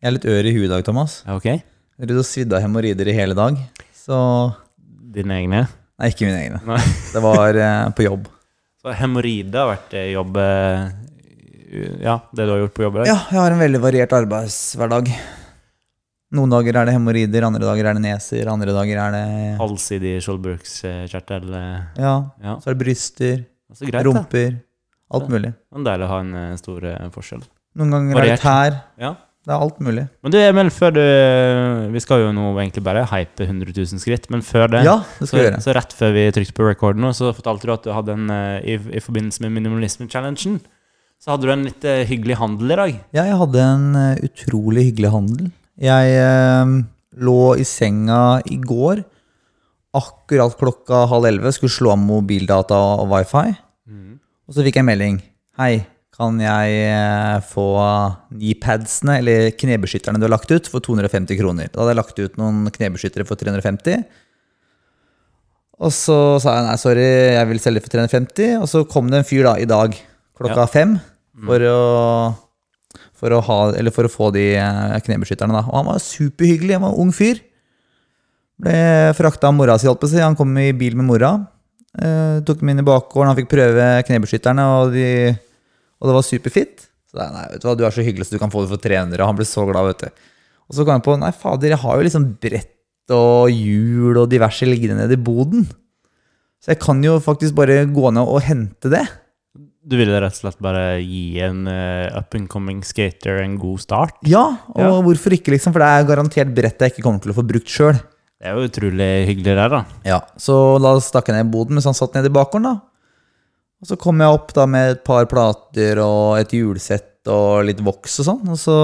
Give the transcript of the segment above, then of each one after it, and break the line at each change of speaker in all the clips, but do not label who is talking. Jeg er litt ør i huet i dag, Thomas.
Ok.
Jeg har svidd av hemoroider i hele dag. Så
Dine egne.
Nei, ikke mine egne.
Nei.
Det var eh, på jobb.
Så hemoroide har vært eh, jobb eh, Ja, det du har gjort på jobb i dag?
Ja, jeg har en veldig variert arbeidshverdag. Noen dager er det hemoroider, andre dager er det neser, andre dager er det
Allsidig skjoldbrukskjertel. eh,
Ja.
Ja,
Så er det bryster,
så greit, da.
rumper. Alt mulig.
Det var deilig å ha en eh, stor eh, forskjell.
Noen ganger er det
Variert.
tær.
Ja.
Det er alt mulig.
Men du, Emil, før du eh, Vi skal jo nå egentlig bare hype 100 000 skritt, men før det
Ja, det skal
så,
vi gjøre.
så rett før vi trykte på record nå, så fortalte du at du hadde en eh, i, I forbindelse med minimalisme-challengen, så hadde du en litt eh, hyggelig handel i dag.
Ja, jeg hadde en eh, utrolig hyggelig handel. Jeg eh, lå i senga i går, akkurat klokka halv elleve, skulle slå av mobildata og wifi, og så fikk jeg en melding. Hei, kan jeg eh, få kneepadsene, eller knebeskytterne du har lagt ut, for 250 kroner? Da hadde jeg lagt ut noen knebeskyttere for 350. Og så sa jeg nei, sorry, jeg vil selge for 350. Og så kom det en fyr da i dag klokka fem for å, for, å ha, eller for å få de eh, knebeskytterne. da. Og han var superhyggelig. Han var en ung fyr. Ble frakta av mora si, holdt på å si. Han kom i bil med mora. Eh, tok dem inn i bakgården, han fikk prøve knebeskytterne, og, de, og det var superfint. Så da, nei, vet du hva, du er så hyggelig så du kan få det for 300. Og han ble så glad, vet du. Og så kom jeg på nei, fader, jeg har jo liksom brett og hjul og diverse liggende nede i boden. Så jeg kan jo faktisk bare gå ned og hente det.
Du ville rett og slett bare gi en eh, up and coming skater en god start?
Ja, og
Ja.
hvorfor ikke, liksom? For det er garantert brett jeg ikke kommer til å få brukt sjøl.
Det er jo utrolig hyggelig der, da.
Ja, så da stakk jeg ned i boden mens han satt nede i bakgården, da. Og så kom jeg opp da med et par plater og et hjulsett og litt voks og sånn. Og så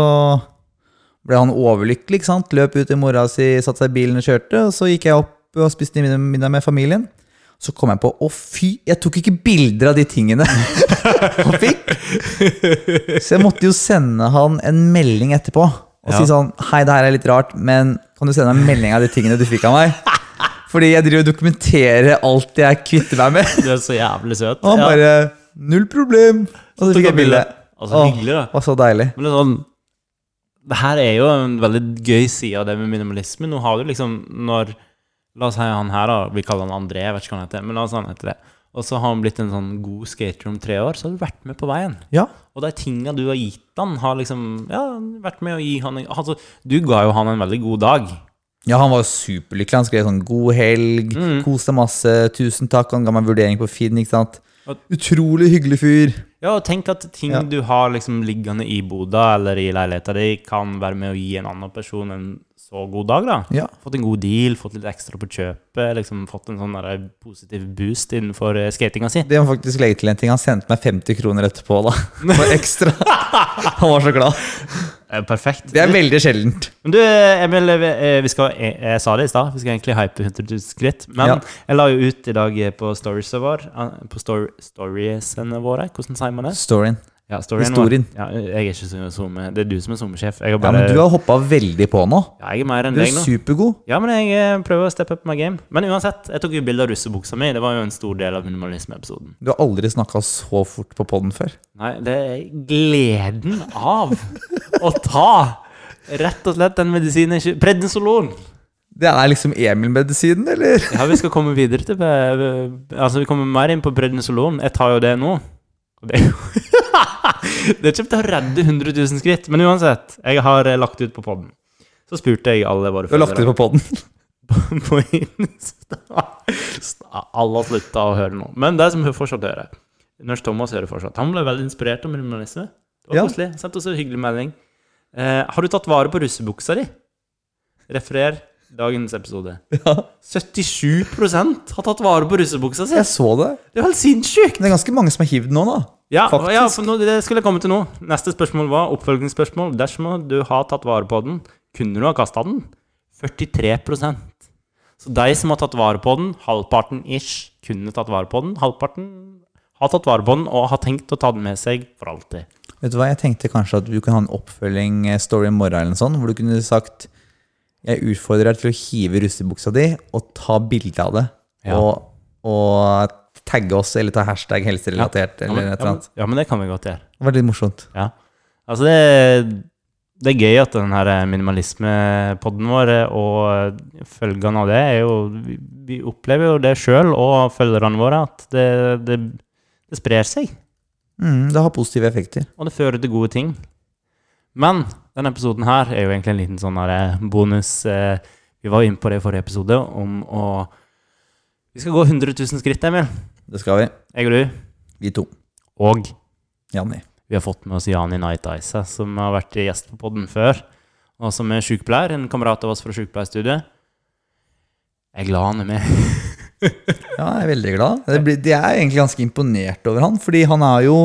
ble han overlykkelig, ikke sant. Løp ut til mora si, satte seg i bilen og kjørte. Og så gikk jeg opp og spiste middag- middag med familien. Så kom jeg på å fy, jeg tok ikke bilder av de tingene han fikk. Så jeg måtte jo sende han en melding etterpå og
Ja.
si sånn Hei, det her er litt rart, men kan du sende meg en melding av de tingene du fikk av meg? Fordi jeg driver og dokumenterer alt jeg kvitter meg med.
Du er så jævlig søt.
Og han
Ja.
bare Null problem! Og så
Tok
fikk jeg
et
bilde.
bilde. Altså,
Åh.
hyggelig, da.
Og så deilig.
Men det er sånn Det her er jo en veldig gøy side av det med minimalisme. Nå har du liksom Når La oss si han her, da. Vi kaller han André, jeg vet ikke hva han heter. Men la oss si han heter det. Og så har han blitt en sånn god skater om tre år, så har du vært med på veien.
Ja.
Og de tinga du har gitt han, har liksom Ja, vært med å gi han en Altså, du ga jo han en veldig god dag.
Ja, han var jo superlykkelig. Han skrev sånn 'god helg',
Mm.
kos deg masse, tusen takk. Han ga meg vurdering på Finn, ikke sant.
Og-
Utrolig hyggelig fyr.
Ja, og tenk at ting
Ja.
du har liksom liggende i boda eller i leiligheta di, kan være med å gi en annen person en så god dag, da.
Ja.
Fått en god deal, fått litt ekstra på kjøpet, liksom fått en sånn der positiv boost innenfor eh, skatinga si.
Det må jeg faktisk legge til en ting. Han sendte meg 50 kroner etterpå, da. For ekstra. Han var så glad.
Eh, Perfekt.
Det er veldig sjeldent.
Men du, Emil, vi, eh, vi skal, jeg, jeg sa det i stad, vi skal egentlig hype 100 000 skritt. Men
Ja.
jeg la jo ut i dag eh, på storiesene våre, eh, på stor, storiesene våre Hvordan sier man det?
Storyen.
Ja, storyen vår.
Historien.
Ja, jeg er ikke så SoMe. Det er du som er SoMe-sjef. Jeg, har
Ja,
bare,
men du har hoppa veldig på nå.
ja, jeg er mer enn
Du er
deg nå.
supergod.
Ja, men jeg eh, prøver å steppe up my game. Men uansett, jeg tok jo bilde av russebuksa mi. Det var jo en stor del av minimalismeepisoden.
Du har aldri snakka så fort på poden før.
Nei, det er gleden av å ta rett og slett den medisinen jeg ikke- Prednisolon!
Det er liksom Emil-medisinen, eller?
Ja, vi skal komme videre til eh, Altså, vi kommer mer inn på prednisolon. Jeg tar jo det nå. Og Det er jo Det er ikke til å redde 100 000 skritt, men uansett. Jeg har eh, lagt ut på poden. Så spurte jeg alle våre
Du har lagt ut på poden.
på Insta. Alle har slutta å høre nå. Men det som hun fortsatt hører Nurse Thomas hører fortsatt. Han ble veldig inspirert av minimalisme. Det var
Ja.
koselig. Sendte oss en hyggelig melding. Eh, har du tatt vare på russebuksa di? Referer dagens episode.
Ja.
77 har tatt vare på russebuksa si!
Jeg så det.
Det er helt sinnssykt!
Men det er ganske mange som har hivd nå, da.
Ja, og
Faktisk.
ja, for nå, det skulle jeg komme til nå. Neste spørsmål var oppfølgingsspørsmål. Dersom du har tatt vare på den, kunne du ha kasta den? 43 Så de som har tatt vare på den, halvparten ish, kunne tatt vare på den. Halvparten har tatt vare på den og har tenkt å ta den med seg for alltid.
Vet du hva, Jeg tenkte kanskje at du kunne ha en oppfølging-story i morgen, eller noe sånt, hvor du kunne sagt jeg utfordrer deg til å hive russebuksa di og ta bilde av det.
Ja.
Og, og tagge oss, eller ta hashtag helserelatert,
Ja,
eller
men,
et eller
ja, men,
annet.
ja, men det kan vi godt gjøre.
Det var litt morsomt.
Ja. Altså, det Det er gøy at den her minimalismepodden vår eh, og følgene av det er jo Vi, vi opplever jo det sjøl og følgerne våre, at det, det, det sprer seg.
Mm, det har positive effekter.
Og det fører til gode ting. Men denne episoden her er jo egentlig en liten sånn her, eh, bonus. eh, Vi var jo inne på det i forrige episode om å Vi skal gå 100 000 skritt, Emil.
Det skal vi.
Jeg og du.
Vi to.
Og
Janni.
vi har fått med oss Jani Nightice, som har vært gjest på podden før. Og som er sykepleier. En kamerat av oss fra sykepleierstudiet. Jeg er glad han er med.
Ja, jeg er veldig glad. Det blir, jeg er egentlig ganske imponert over han, fordi han er jo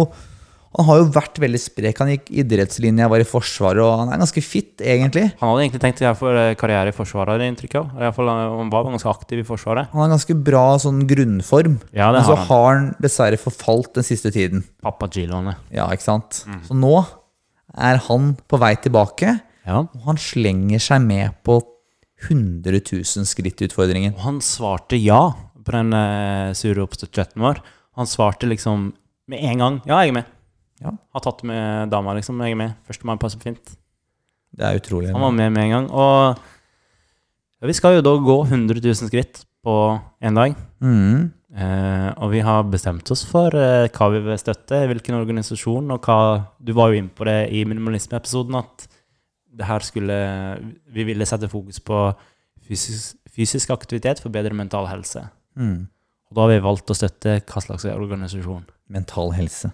han har jo vært veldig sprek. Han gikk idrettslinja, var i Forsvaret, og han er ganske fit, egentlig.
Han hadde egentlig tenkt å gjøre for- eh, karriere i Forsvaret, har jeg inntrykk av. I hvert fall, eh, han var ganske aktiv i Forsvaret.
Han har ganske bra sånn grunnform,
Ja, det
men så
har han.
har han dessverre forfalt den siste tiden.
Pappa Giloene.
Ja, ikke sant?
Mm.
Så nå er han på vei tilbake,
Ja.
og han slenger seg med på 100 000 skritt-utfordringen.
Og han svarte ja på den eh, sure oppstått chatten vår. Han svarte liksom med en gang ja, jeg er med.
Ja.
Har tatt med dama, liksom. Jeg er med. Førstemann passer fint.
Det er utrolig.
Han var med med en gang. Og ja, vi skal jo da gå 100 000 skritt på én dag.
Mm.
Eh, og vi har bestemt oss for eh, hva vi vil støtte, hvilken organisasjon og hva Du var jo inne på det i minimalismeepisoden, at det her skulle Vi ville sette fokus på fysisk, fysisk aktivitet for bedre mental helse.
Mm.
Og da har vi valgt å støtte hva slags organisasjon?
Mental helse.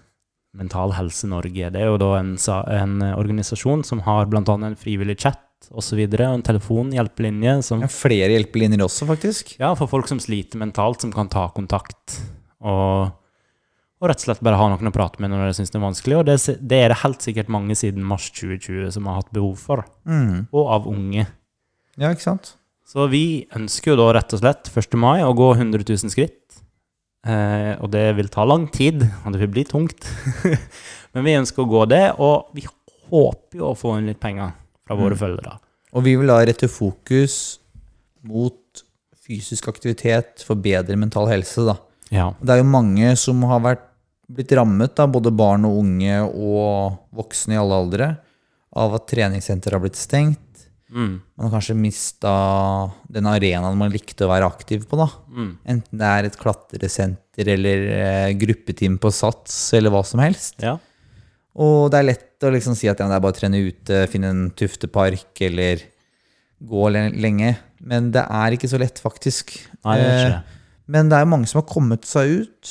Mental Helse Norge. Det er jo da en, sa- en organisasjon som har bl.a. en frivillig chat osv., og en telefon, hjelpelinje, som
Ja, flere hjelpelinjer også, faktisk.
Ja, for folk som sliter mentalt, som kan ta kontakt og, og rett og slett bare ha noen å prate med når de syns det er vanskelig. Og det, er si- det er det helt sikkert mange siden mars 2020 som har hatt behov for,
Mm.
og av unge.
Ja, ikke sant?
Så vi ønsker jo da rett og slett 1. mai å gå 100 000 skritt. Eh, og det vil ta lang tid, og det vil bli tungt. Men vi ønsker å gå det, og vi håper jo å få inn litt penger fra våre følgere.
Og vi vil da rette fokus mot fysisk aktivitet for bedre mental helse, da.
Ja.
Det er jo mange som har vært, blitt rammet, da, både barn og unge og voksne i alle aldre, av at treningssenter har blitt stengt.
Mm.
Man har kanskje mista den arenaen man likte å være aktiv på, da.
Mm.
Enten det er et klatresenter eller eh, gruppetime på SATS eller hva som helst.
ja.
Og det er lett å liksom si at ja, men det er bare å trene ute, finne en tuftepark eller gå le- lenge. Men det er ikke så lett, faktisk.
Nei, det er ikke det.
Eh, Men det er jo mange som har kommet seg ut.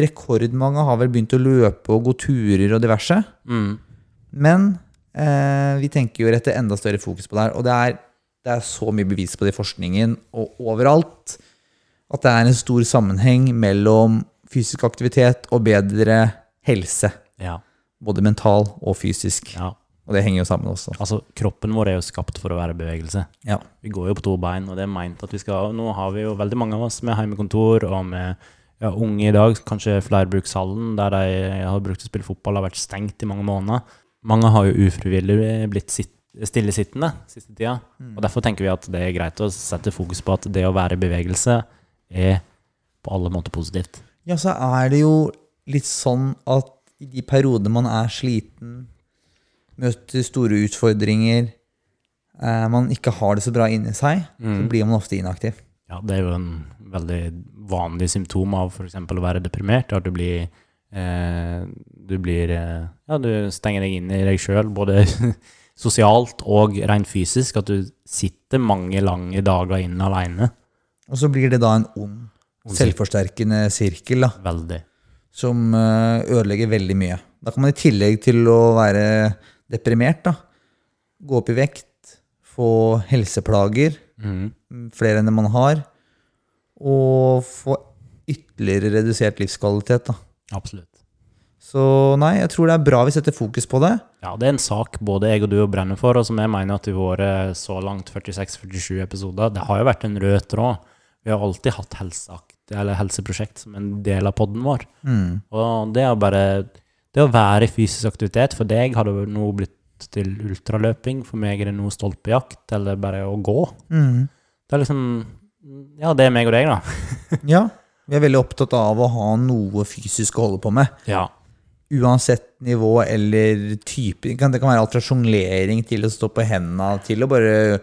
Rekordmange har vel begynt å løpe og gå turer og diverse.
Mm.
Men eh, vi tenker jo å rette enda større fokus på det her. Og det er, det er så mye bevis på det i forskningen og overalt at det er en stor sammenheng mellom fysisk aktivitet og bedre helse
Ja.
både mental og fysisk.
ja.
Og det henger jo sammen også.
Altså, kroppen vår er jo skapt for å være i bevegelse.
Ja.
Vi går jo på to bein, og det er meint at vi skal Nå har vi jo veldig mange av oss med hjemmekontor og med ja, unge i dag, kanskje flerbrukshallen der de har brukt å spille fotball, har vært stengt i mange måneder. Mange har jo ufrivillig blitt sitt, stillesittende siste tida, og derfor tenker vi at det er greit å sette fokus på at det å være i bevegelse er på alle måter positivt.
ja, så er det jo litt sånn at i de periodene man er sliten, møter store utfordringer, eh, man ikke har det så bra inni seg, så blir man ofte inaktiv.
Ja, det er jo en veldig vanlig symptom av f.eks. å være deprimert. At du blir, eh, du blir eh, Ja, du stenger deg inn i deg sjøl, både sosialt og rent fysisk. At du sitter mange lange dager inne aleine.
Og så blir det da en ond, selvforsterkende sirkel da,
Veldig.
som eh, ødelegger veldig mye. Da kan man i tillegg til å være deprimert, da, gå opp i vekt, få helseplager,
Mhm.
flere enn det man har, og få ytterligere redusert livskvalitet. Da.
Absolutt.
Så nei, jeg tror det er bra vi setter fokus på det.
Ja, det er en sak både jeg og du brenner for, og som jeg mener at i våre så langt 46-47 episoder, det har jo vært en rød tråd. Vi har alltid hatt helseakt, eller helseprosjekt som en del av podden vår.
Mm.
Og det å bare Det å være i fysisk aktivitet For deg har det jo nå blitt til ultraløping. For meg er det nå stolpejakt, eller bare å gå.
Mm.
Det er liksom Ja, det er meg og deg, da.
Ja, vi er veldig opptatt av å ha noe fysisk å holde på med.
Ja.
uansett nivå eller type Det kan det kan være alt fra sjonglering til å stå på henda til å bare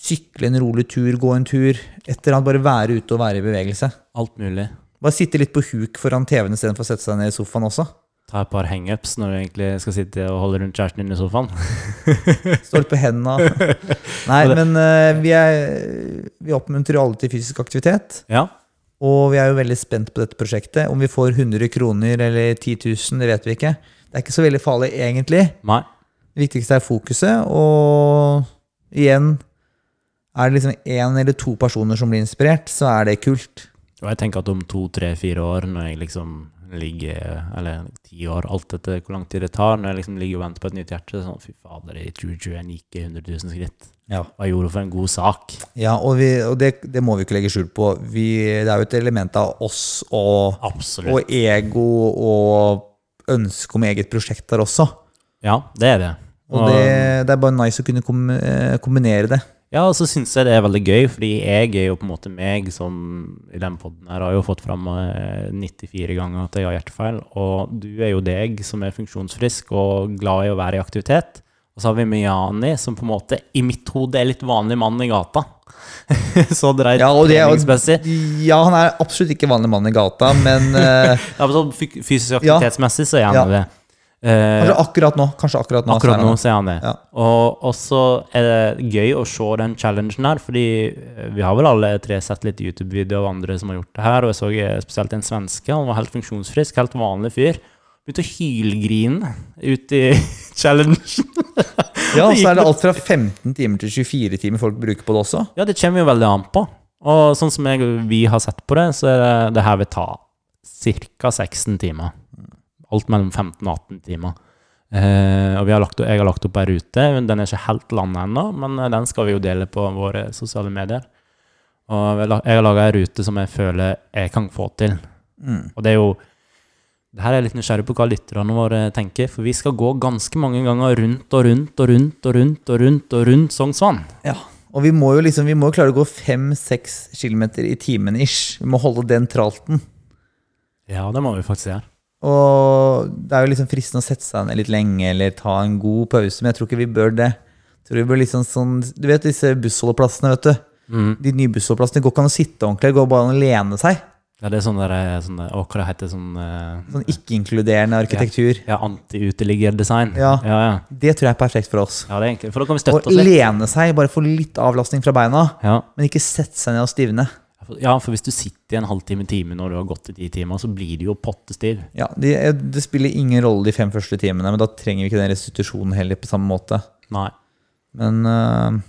sykle en rolig tur, gå en tur. Et eller annet. Bare være ute og være i bevegelse.
Alt mulig.
Bare sitte litt på huk foran TV-en istedenfor å sette seg ned i sofaen også.
Ta et par hangups når du egentlig skal sitte og holde rundt kjæresten din i sofaen.
Stå litt på henda. Nei, men eh, vi, er, vi oppmuntrer jo alle til fysisk aktivitet.
Ja.
Og vi er jo veldig spent på dette prosjektet. Om vi får 100 kroner eller 10 000, det vet vi ikke. Det er ikke så veldig farlig, egentlig.
Nei.
Det viktigste er fokuset, og igjen Er det liksom én eller to personer som blir inspirert, så er det kult.
Og jeg tenker at om to, tre, fire år, når jeg liksom ligger Eller ti år, alt etter hvor lang tid det tar, når jeg liksom ligger og venter på et nytt hjerte, sånn fy fader, i 2021 gikk jeg 100 000 skritt.
Ja.
Hva jeg gjorde for en god sak?
Ja, og, vi, og det, det må vi ikke legge skjul på. Vi, det er jo et element av oss og,
Absolutt.
og ego og ønske om eget prosjekt der også.
Ja, det er det.
Og det, det er bare nice å kunne kom, eh, kombinere det.
Ja, og så syns jeg det er veldig gøy, fordi jeg er jo på en måte meg som i den poden her har jo fått fram eh, 94 ganger at jeg har hjertefeil, og du er jo deg som er funksjonsfrisk og glad i å være i aktivitet. Og så har vi Miani, som på en måte i mitt hode er litt vanlig mann i gata. så dreit
Ja, og det er jo-
treningsmessig.
Ja, han er absolutt ikke vanlig mann i gata, men eh,
Ja, men sånn fy- fysisk
Ja.
aktivitetsmessig så er han
Ja. Altså,
det. Eh,
kanskje akkurat nå. Kanskje akkurat nå. så er
Akkurat
han
nå
det.
så er han det.
Ja.
Og og så er det gøy å se den challengen her, fordi eh, vi har vel alle tre sett litt YouTube-videoer av andre som har gjort det her, og jeg så eh, spesielt en svenske, han var helt funksjonsfrisk, helt vanlig fyr. Begynte å hylgrine ut i challengen.
Ja, så er det alt fra 15 timer til 24 timer folk bruker på det også.
Ja, det kommer jo veldig an på. Og sånn som jeg, vi har sett på det, så er det, det her vil ta ca. 16 timer. Alt mellom 15 og 18 timer. Eh, og vi har lagt, jeg har lagt opp ei rute. Den er ikke helt landet ennå, men eh, den skal vi jo dele på våre sosiale medier. Og vi har la- jeg har laga ei rute som jeg føler jeg kan få til. Og det er jo det her er jeg litt nysgjerrig på hva lytterne våre tenker, for vi skal gå ganske mange ganger rundt og rundt og rundt og rundt og rundt og rundt Sognsvann.
Ja, og vi må jo liksom, vi må jo klare å gå 5-6 km i timen ish. Vi må holde den tralten.
Ja, det må vi faktisk gjøre.
Og det er jo liksom fristende å sette seg ned litt lenge eller ta en god pause, men jeg tror ikke vi bør det. Jeg tror vi bør liksom sånn, Du vet disse bussholdeplassene, vet du. De nye bussholdeplassene det går ikke an å sitte ordentlig, det går bare an å lene seg.
Ja, det er sånn der, eh, sånn der Å, hva det heter sånn eh,
Sånn ikke-inkluderende arkitektur.
Ja, anti-uteliggerdesign.
Ja.
ja, ja.
Det tror jeg er perfekt for oss.
Ja, det er egentlig For da kan vi
Å
støtte oss litt.
lene seg, bare få litt avlastning fra beina,
Ja.
men ikke sette seg ned og stivne.
ja, for hvis du sitter i en halvtime time når du har gått i ti timer, så blir du jo pottestiv.
Ja, det, det spiller ingen rolle de fem første timene, men da trenger vi ikke den restitusjonen heller på samme måte.
Nei.
Men øh,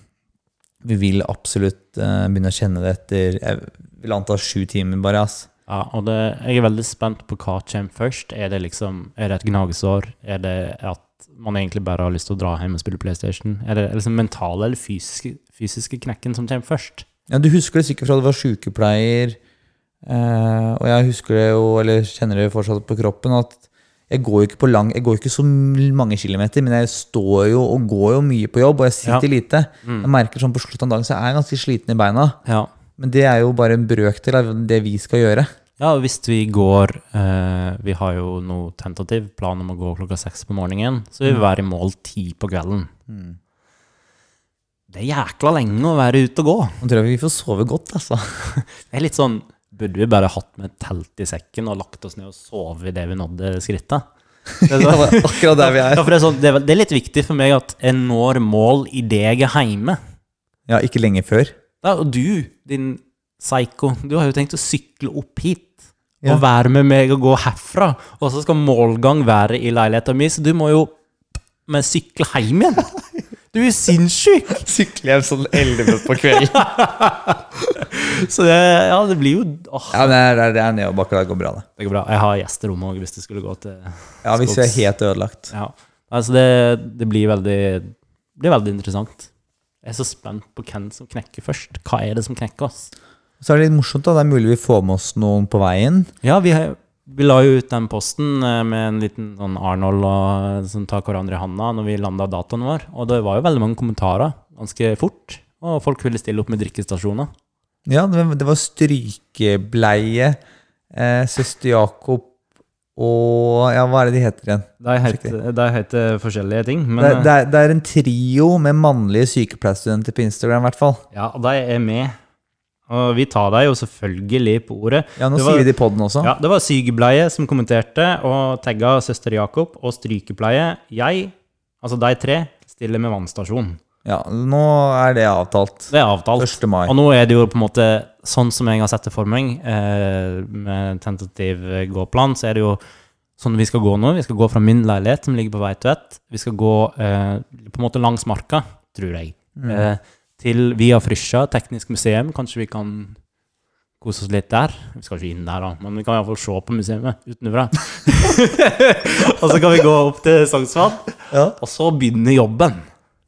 vi vil absolutt øh, begynne å kjenne det etter Jeg vil anta sju timer, bare. ass.
Ja, og det, jeg er veldig spent på hva kommer først. Er det liksom Er det et gnagsår? Er det at man egentlig bare har lyst til å dra hjem og spille PlayStation? Er det liksom mentale eller fysiske, fysiske knekken som kommer først?
Ja, Du husker det sikkert fra du var sykepleier, eh, og jeg husker det jo, eller kjenner det fortsatt på kroppen, at jeg går jo ikke på lang, jeg går jo ikke så mange kilometer, men jeg står jo og går jo mye på jobb, og jeg sitter lite. Jeg merker sånn på slutten av dagen så er jeg ganske sliten i beina,
Ja.
men det er jo bare en brøkdel av det vi skal gjøre.
Ja, og hvis vi går eh, Vi har jo noe tentativ plan om å gå klokka seks på morgenen, så vil vi være i mål ti på kvelden. Det er jækla lenge å være ute og gå.
Nå tror jeg vi får sove godt, altså.
Det er litt sånn Burde vi bare hatt med et telt i sekken og lagt oss ned og sove idet vi nådde skrittet? Det
Det
er, sånn,
var akkurat der vi
ja,
er.
for det, er sånn, det, er, vel- det er litt viktig for meg at jeg når mål idet jeg er hjemme.
Ja, ikke lenge før.
Ja, og du, din psycho, du har jo tenkt å sykle opp hit
Ja.
og være med meg og gå herfra. Og så skal målgang være i leiligheten min, så du må jo med sykle hjem igjen. Du er sinnssyk!
Sykler hjem sånn elleve på kvelden.
Så det, ja, det blir jo åh.
Ja, men det er- det er, det er nedoverbakke. Det går bra, det.
Det går bra. Jeg har gjesterom òg, hvis det skulle gå til
Ja, Hvis vi er helt ødelagt.
Ja. Altså, det, det blir veldig Det blir veldig interessant. Jeg er så spent på hvem som knekker først. Hva er det som knekker oss?
Så er det litt morsomt, da. Det er mulig vi får med oss noen på veien.
Ja, vi, har- vi la jo ut den posten eh, med en liten sånn Arnold og, eh, som tar hverandre i handa når vi landa dataen vår. Og det var jo veldig mange kommentarer ganske fort. Og folk ville stille opp med drikkestasjoner.
Ja, det var- det var strykebleie, eh, søster Jakob og Ja, hva er det de heter igjen?
De heter, de heter forskjellige ting, men
Det, det, er, det er en trio med mannlige sykepleierstudenter på Instagram, i hvert fall.
eh, ja, de er med. Og vi tar dem jo selvfølgelig på ordet.
Ja, nå
Det var-
sier vi det i poden også.
Ja, det var sykepleie som kommenterte og tagga søster Jakob og strykepleie. Jeg, altså de tre, stiller med vannstasjon.
Ja, nå er det avtalt.
Det er avtalt.
1. mai.
Og nå er det jo på en måte sånn som jeg har sett det for meg, eh, med tentativ gåplan, så er det jo sånn vi skal gå nå. Vi skal gå fra min leilighet, som ligger på Veitvet. Vi skal gå eh, på en måte langs marka, tror jeg. Eh, til Via Frysja, teknisk museum. Kanskje vi kan kose oss litt der. Vi skal ikke inn der, da, men vi kan iallfall se på museet utenfra. og så kan vi gå opp til Sognsvann.
Ja.
Og så begynner jobben.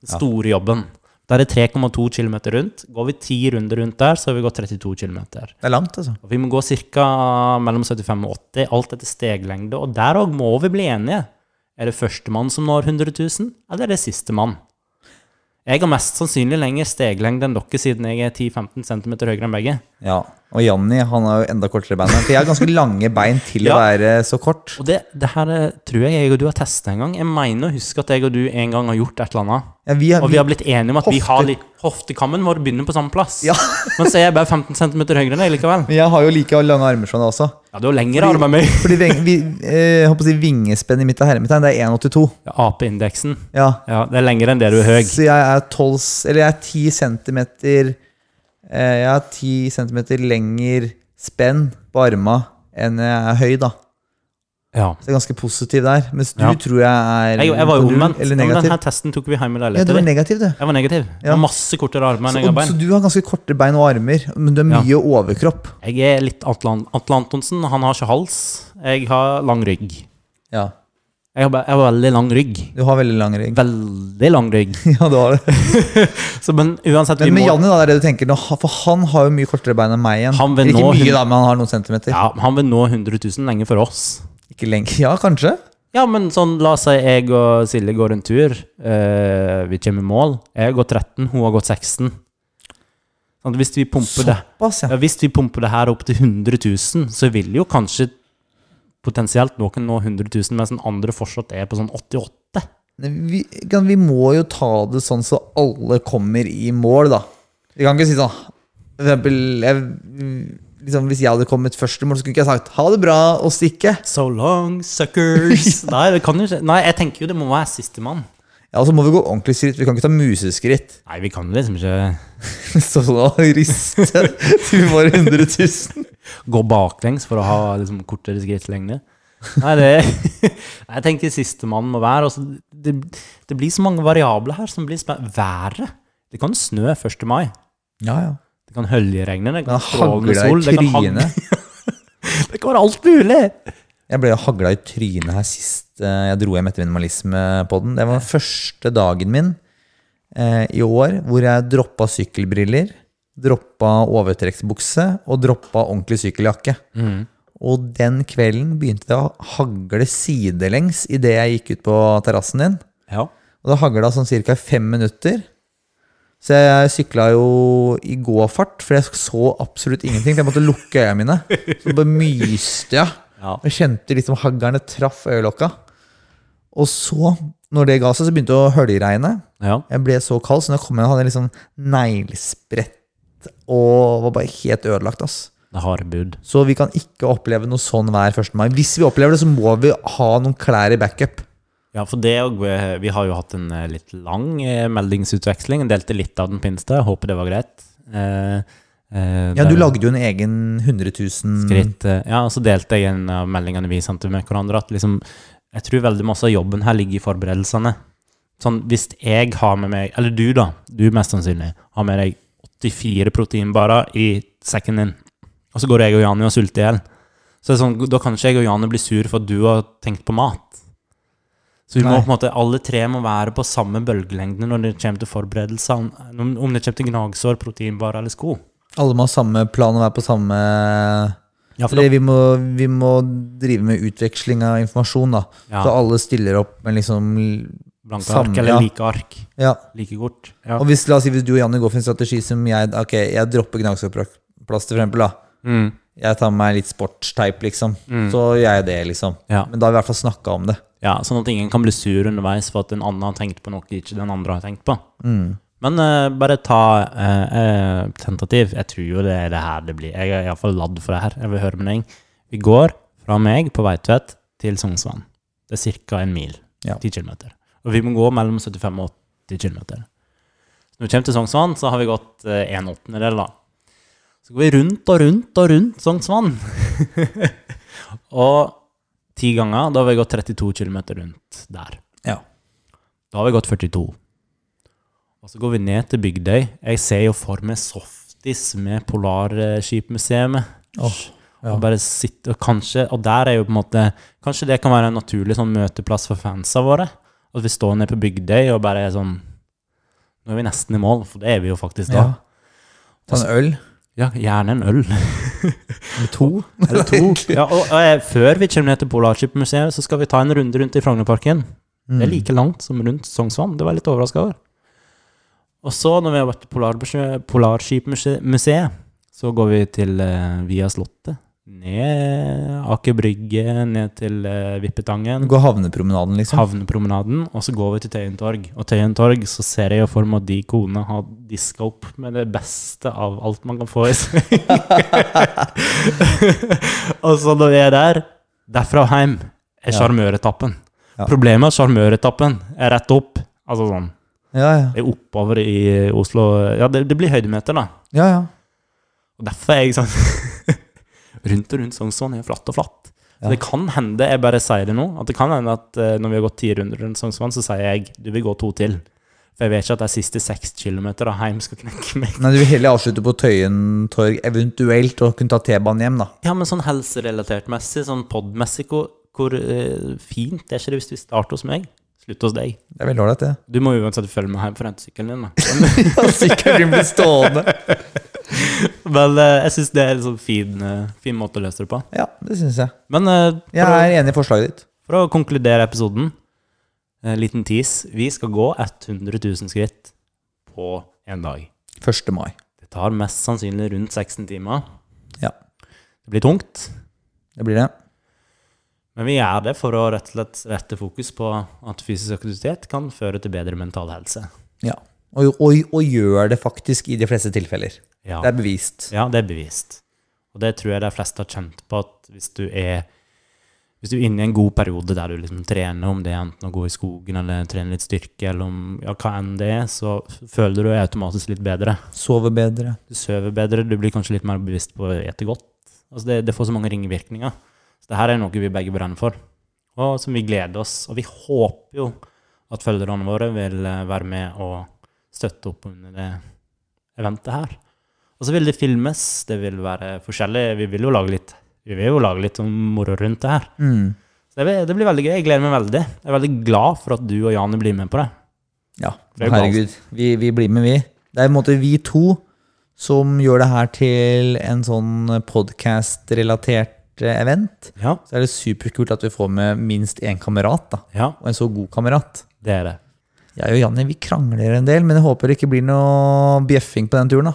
Den store jobben. Der er 3,2 km rundt. Går vi 10 runder rundt der, så har vi gått 32 km.
Det er langt, altså.
Og vi må gå ca. mellom 75 og 80, alt etter steglengde. Og der òg må vi bli enige. Er det førstemann som når 100 000, eller er det sistemann? Jeg har mest sannsynlig lenger steglengde enn dere, siden jeg er 10-15 cm høyere enn begge.
Ja. Og Janni han har jo enda kortere bein. For jeg har ganske lange bein til å
Ja.
være så kort.
Og det, det her eh, tror jeg jeg og du har testa en gang. Jeg mener å huske at jeg og du en gang har gjort et eller annet.
Ja, vi,
Og vi har blitt enige om at vi
Hofte-
har litt Hoftekammen vår begynner på samme plass.
Ja.
Men så er jeg bare 15 cm høyere enn deg likevel.
men jeg har jo like lange armer som deg også.
Ja, du har lengre arm enn meg.
Fordi vi, vi, eh, jeg håper å si vingespenn i mitt av hermetegn, det er 1,82.
Ja, Apeindeksen.
Ja.
Ja, det er lengre enn det du er høy.
Så jeg er 12, s- eller jeg er 10 centimeter eh, Jeg er 10 centimeter lenger spenn på arma enn jeg er høy, da.
Ja.
Så jeg er ganske positiv der. Mens du
Ja.
tror jeg er
Jeg, jeg var jo
null
omvendt. Ja,
eller
men
negativ.
denne testen tok vi hjemme i
Ja, du var
leiligheten.
negativ, du.
Jeg var negativ. Jeg
Ja.
har masse kortere armer
Så,
enn jeg har
og, så
bein.
du har ganske korte bein og armer, men du har
Ja.
mye overkropp.
Jeg er litt Atlan Atle Antonsen. Han har ikke hals. Jeg har lang rygg.
Ja.
Jeg har, bare, jeg har veldig lang rygg.
Du har veldig lang rygg.
Veldig lang rygg.
Ja, du har det.
Så, men uansett,
Men med
vi må
Janni, da, det er det du tenker nå, ha- for han har jo mye kortere bein enn meg igjen.
Han vil
Ikke
nå
mye,
hun-
da, men han har noen centimeter.
ja, Han vil nå 100 000 lenge for oss.
Ikke lenge. Ja, kanskje?
Ja, men sånn, la oss si jeg og Silje går en tur. eh, vi kommer i mål. Jeg har gått 13, hun har gått 16. Sånn, hvis, vi pumper det,
Såpass, ja.
ja, hvis vi pumper det her opp til 100 000, så vil jo kanskje potensielt noen nå 100 000, mens den andre fortsatt er på sånn 88.
Men Vi, kan- vi må jo ta det sånn så alle kommer i mål, da. Vi kan ikke si sånn For eksempel, jeg, liksom, Hvis jeg hadde kommet først i mål, så kunne ikke jeg sagt 'ha det bra' og stikke.
So long, suckers! Nei, det kan jo ikke. Nei, jeg tenker jo det må være sistemann.
Ja, Og så må vi gå ordentlig skritt. Vi kan ikke ta museskritt.
Nei, vi kan liksom ikke
Så sånn og riste til vi får 100 000.
gå baklengs for å ha liksom, kortere skrittlengde. Nei, det Jeg tenker sistemann må være. Altså, det, det blir så mange variabler her som blir spennende. Været. Det kan snø 1. mai.
Ja, ja.
Det kan høljeregne. Det
Men
kan
hagla
strålende
i
sol. Det kan, hagle,
trynet.
det kan være alt mulig!
Jeg ble jo hagla i trynet her sist eh, jeg dro hjem etter minimalismepodden. Det var den første dagen min eh, i år hvor jeg droppa sykkelbriller, droppa overtrekksbukse og droppa ordentlig sykkeljakke. Og den kvelden begynte det å hagle sidelengs idet jeg gikk ut på terrassen din.
Ja.
Og det hagla sånn ca. fem minutter. Så jeg sykla jo i gåfart, for jeg så absolutt ingenting. For jeg måtte lukke øya mine. Så bare myste jeg.
Ja.
Og kjente liksom haglene traff øyelokka. Og så, når det ga seg, så begynte det å høljeregne.
ja.
Jeg ble så kald, så når jeg kom hjem, hadde jeg liksom neglesprett og var bare helt ødelagt. ass.
Det er harde bud.
Så vi kan ikke oppleve noe sånn hver 1. mai. Hvis vi opplever det, så må vi ha noen klær i backup.
Ja, for det og, eh, Vi har jo hatt en eh, litt lang eh, meldingsutveksling. Jeg Delte litt av den pinste. Jeg Håper det var greit. Eh, eh,
Ja,
der-
Du lagde jo en egen 100 000
skritt. eh, Ja, og så delte jeg en av meldingene vi sendte med hverandre, at liksom, jeg tror veldig masse av jobben her ligger i forberedelsene. Sånn, hvis jeg har med meg, eller du da, du mest sannsynlig, har med deg 84 proteinbarer i sekken din, og så går jeg og Jani og sulter i hjel, så er det sånn, da kan ikke jeg og Jani bli sur for at du har tenkt på mat. Så vi må
Nei.
på en måte, alle tre må være på samme bølgelengde når det kommer til forberedelser, om, om det kommer til gnagsår, proteinbarer eller sko.
Alle må ha samme plan og være på samme
Ja, for da-
Eller vi må, vi må drive med utveksling av informasjon, da.
Ja.
Så alle stiller opp med liksom
Blanke
Samme,
ark eller
ja.
like ark.
Ja.
Like kort. Ja.
Og hvis, la oss si, hvis du og Janne går for en strategi som jeg Ok, jeg dropper gnagsårplaster, for eksempel. Da.
Mm.
Jeg tar med meg litt sportsteip, liksom. Så gjør jeg det, liksom.
Ja.
Men da har vi i hvert fall snakka om det.
Ja, sånn at ingen kan bli sur underveis for at den andre har tenkt på noe ikke den andre har tenkt på.
Mm.
Men eh, bare ta eh, eh, tentativ. Jeg tror jo det er det her det blir. Jeg er iallfall ladd for det her. Jeg vil høre med deg. Vi går fra meg på Veitvet til Sognsvann. Det er ca. en mil.
Ja.
10 km. Og vi må gå mellom 75 og 80 km. Når vi kommer til Sognsvann, så har vi gått eh, en åttendedel, da. Så går vi rundt og rundt og rundt Sognsvann. og ti ganger. Da har vi gått 32 km rundt der.
Ja.
Da har vi gått 42. Og så går vi ned til Bygdøy. Jeg ser jo for meg softis med Polarskipmuseet.
Åh, ja.
Og bare sitte og kanskje Og der er jo på en måte Kanskje det kan være en naturlig sånn møteplass for fansa våre? At vi står ned på Bygdøy og bare er sånn Nå er vi nesten i mål, for det er vi jo faktisk da.
Ja. Ta en øl.
Ja, gjerne en øl.
Eller to.
Eller to. Ja, og, og eh, før vi kommer ned til Polarskipmuseet, så skal vi ta en runde rundt i Frognerparken.
Mm.
Det er like langt som rundt Sognsvann. Det var jeg litt overraska over. Og så, når vi har vært til Polar, Polarskipmuseet, så går vi til eh, via Slottet. Ned Aker Brygge, ned til eh, Vippetangen,
Gå havnepromenaden, liksom.
havnepromenaden, og så går vi til Tøyen torg. Og Tøyen torg så ser jeg jo for meg at de konene har diska opp med det beste av alt man kan få i seg. og så når vi er der, derfra og hjem, er
Ja.
sjarmøretappen.
Ja.
Problemet er at sjarmøretappen er rett opp. Altså sånn,
Ja, ja.
det er oppover i Oslo. Ja, det, det blir høydemeter, da.
ja, ja.
Og derfor er jeg sånn Rundt og rundt Sognsvann er jo flatt og flatt. Så
Ja.
Det kan hende, jeg bare sier det nå, at det kan hende at eh, når vi har gått ti runder rundt Sognsvann, så sier jeg du vil gå to til. For jeg vet ikke at de siste seks kilometer av heim skal knekke meg.
Nei, du vil heller avslutte på Tøyen torg, eventuelt, og kunne ta T-banen hjem, da.
Ja, men sånn helserelatert messig, sånn podmessig, hvor, hvor eh, fint er ikke det hvis vi starter hos meg? Slutt hos deg.
Det er veldig ålreit, det.
Du må uansett følge med hjem for å hente sykkelen din, da.
Sykkelen blir stående.
Vel, eh, jeg syns det er en sånn fin, eh, fin måte å løse det på.
Ja, det syns jeg.
Men eh,
Jeg
for å-
er enig i forslaget ditt.
For å konkludere episoden, en liten tease. Vi skal gå 100 000 skritt på en dag.
1. mai.
Det tar mest sannsynlig rundt 16 timer.
Ja.
Det blir tungt,
Det blir det.
men vi gjør det for å rett og slett rette fokus på at fysisk aktivitet kan føre til bedre mental helse.
Ja. Og, og, og gjør det faktisk i de fleste tilfeller.
Ja,
Det er bevist.
ja det er bevist. Og det tror jeg de fleste har kjent på at hvis du er hvis du er inne i en god periode der du liksom trener, om det er enten å gå i skogen eller trene litt styrke, eller om ja, hva enn det er, så føler du deg automatisk litt bedre.
Sove bedre.
du sover bedre, du blir kanskje litt mer bevisst på å ete godt. Altså det, det får så mange ringvirkninger. Så det her er noe vi begge brenner for, og som vi gleder oss. Og vi håper jo at følgerne våre vil eh, være med og støtte opp under det eventet her. Og så vil det filmes, det vil være forskjellig. Vi vil jo lage litt, vi vil jo lage litt sånn moro rundt det her.
Mm.
Så det, blir- det blir veldig gøy. Jeg gleder meg veldig. Jeg er veldig glad for at du og Jane blir med på det.
Ja,
Det er jo
herregud. Vi, vi blir med, vi. Det er på en måte vi to som gjør det her til en sånn podkast-relatert eh, event.
Ja,
Så er det superkult at vi får med minst én kamerat, da.
ja
Og en så god kamerat.
det er det.
Jeg og Janni vi krangler en del, men jeg håper det ikke blir noe bjeffing på den turen. da.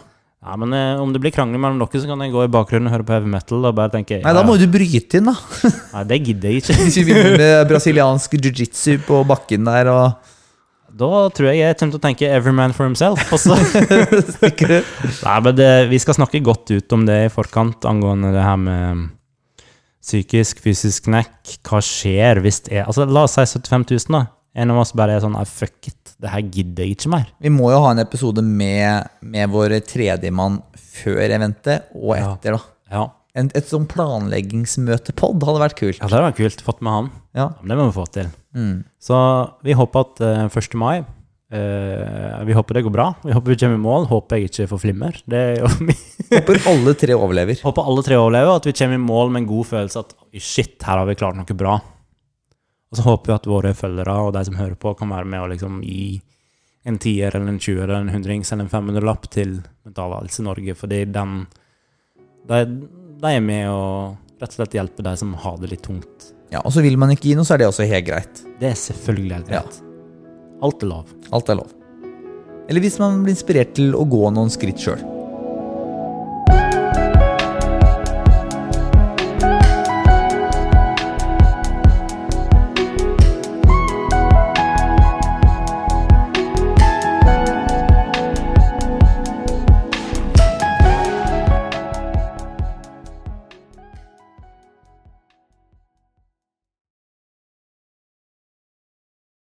Ja, men eh, om det blir krangler mellom dere, så kan jeg gå i bakgrunnen og høre på heavy metal og bare tenke
Nei, da må du bryte inn, da.
ja, Nei, det gidder jeg ikke.
Hvis vi begynner med brasiliansk jiu-jitsu på bakken der og
Da tror jeg jeg kommer til å tenke every man for himself. Og så Nei, men det, vi skal snakke godt ut om det i forkant angående det her med mm, psykisk, fysisk knekk. Hva skjer hvis det er Altså, la oss si 75 000, da. En av oss bare er sånn ah, fuck it, det her gidder jeg ikke mer.
Vi må jo ha en episode med, med vår tredjemann før eventet og etter, da.
Ja,
En, et sånn planleggingsmøtepod hadde vært kult.
ja det hadde vært kult. Fått med han.
Ja. Mm.
Ja, men det må vi få til. Så vi håper at eh, 1. mai eh, Vi håper det går bra. Vi håper vi kommer i mål. Håper jeg ikke får flimmer. Det er jo min-
Håper alle tre overlever.
håper alle tre overlever, og at vi kommer i mål med en god følelse at «Oi, shit, her har vi klart noe bra. Og så håper vi at våre følgere og de som hører på, kan være med og liksom gi en tier eller en tjuer eller en hundrings eller en 500-lapp til Mental Helse Norge, fordi den de, de er med og rett og slett hjelper de som har det litt tungt.
Ja, Og så vil man ikke gi noe, så er det også helt greit.
Det er selvfølgelig helt
Ja.
greit. Alt er lov.
Alt er lov. Eller hvis man blir inspirert til å gå noen skritt sjøl.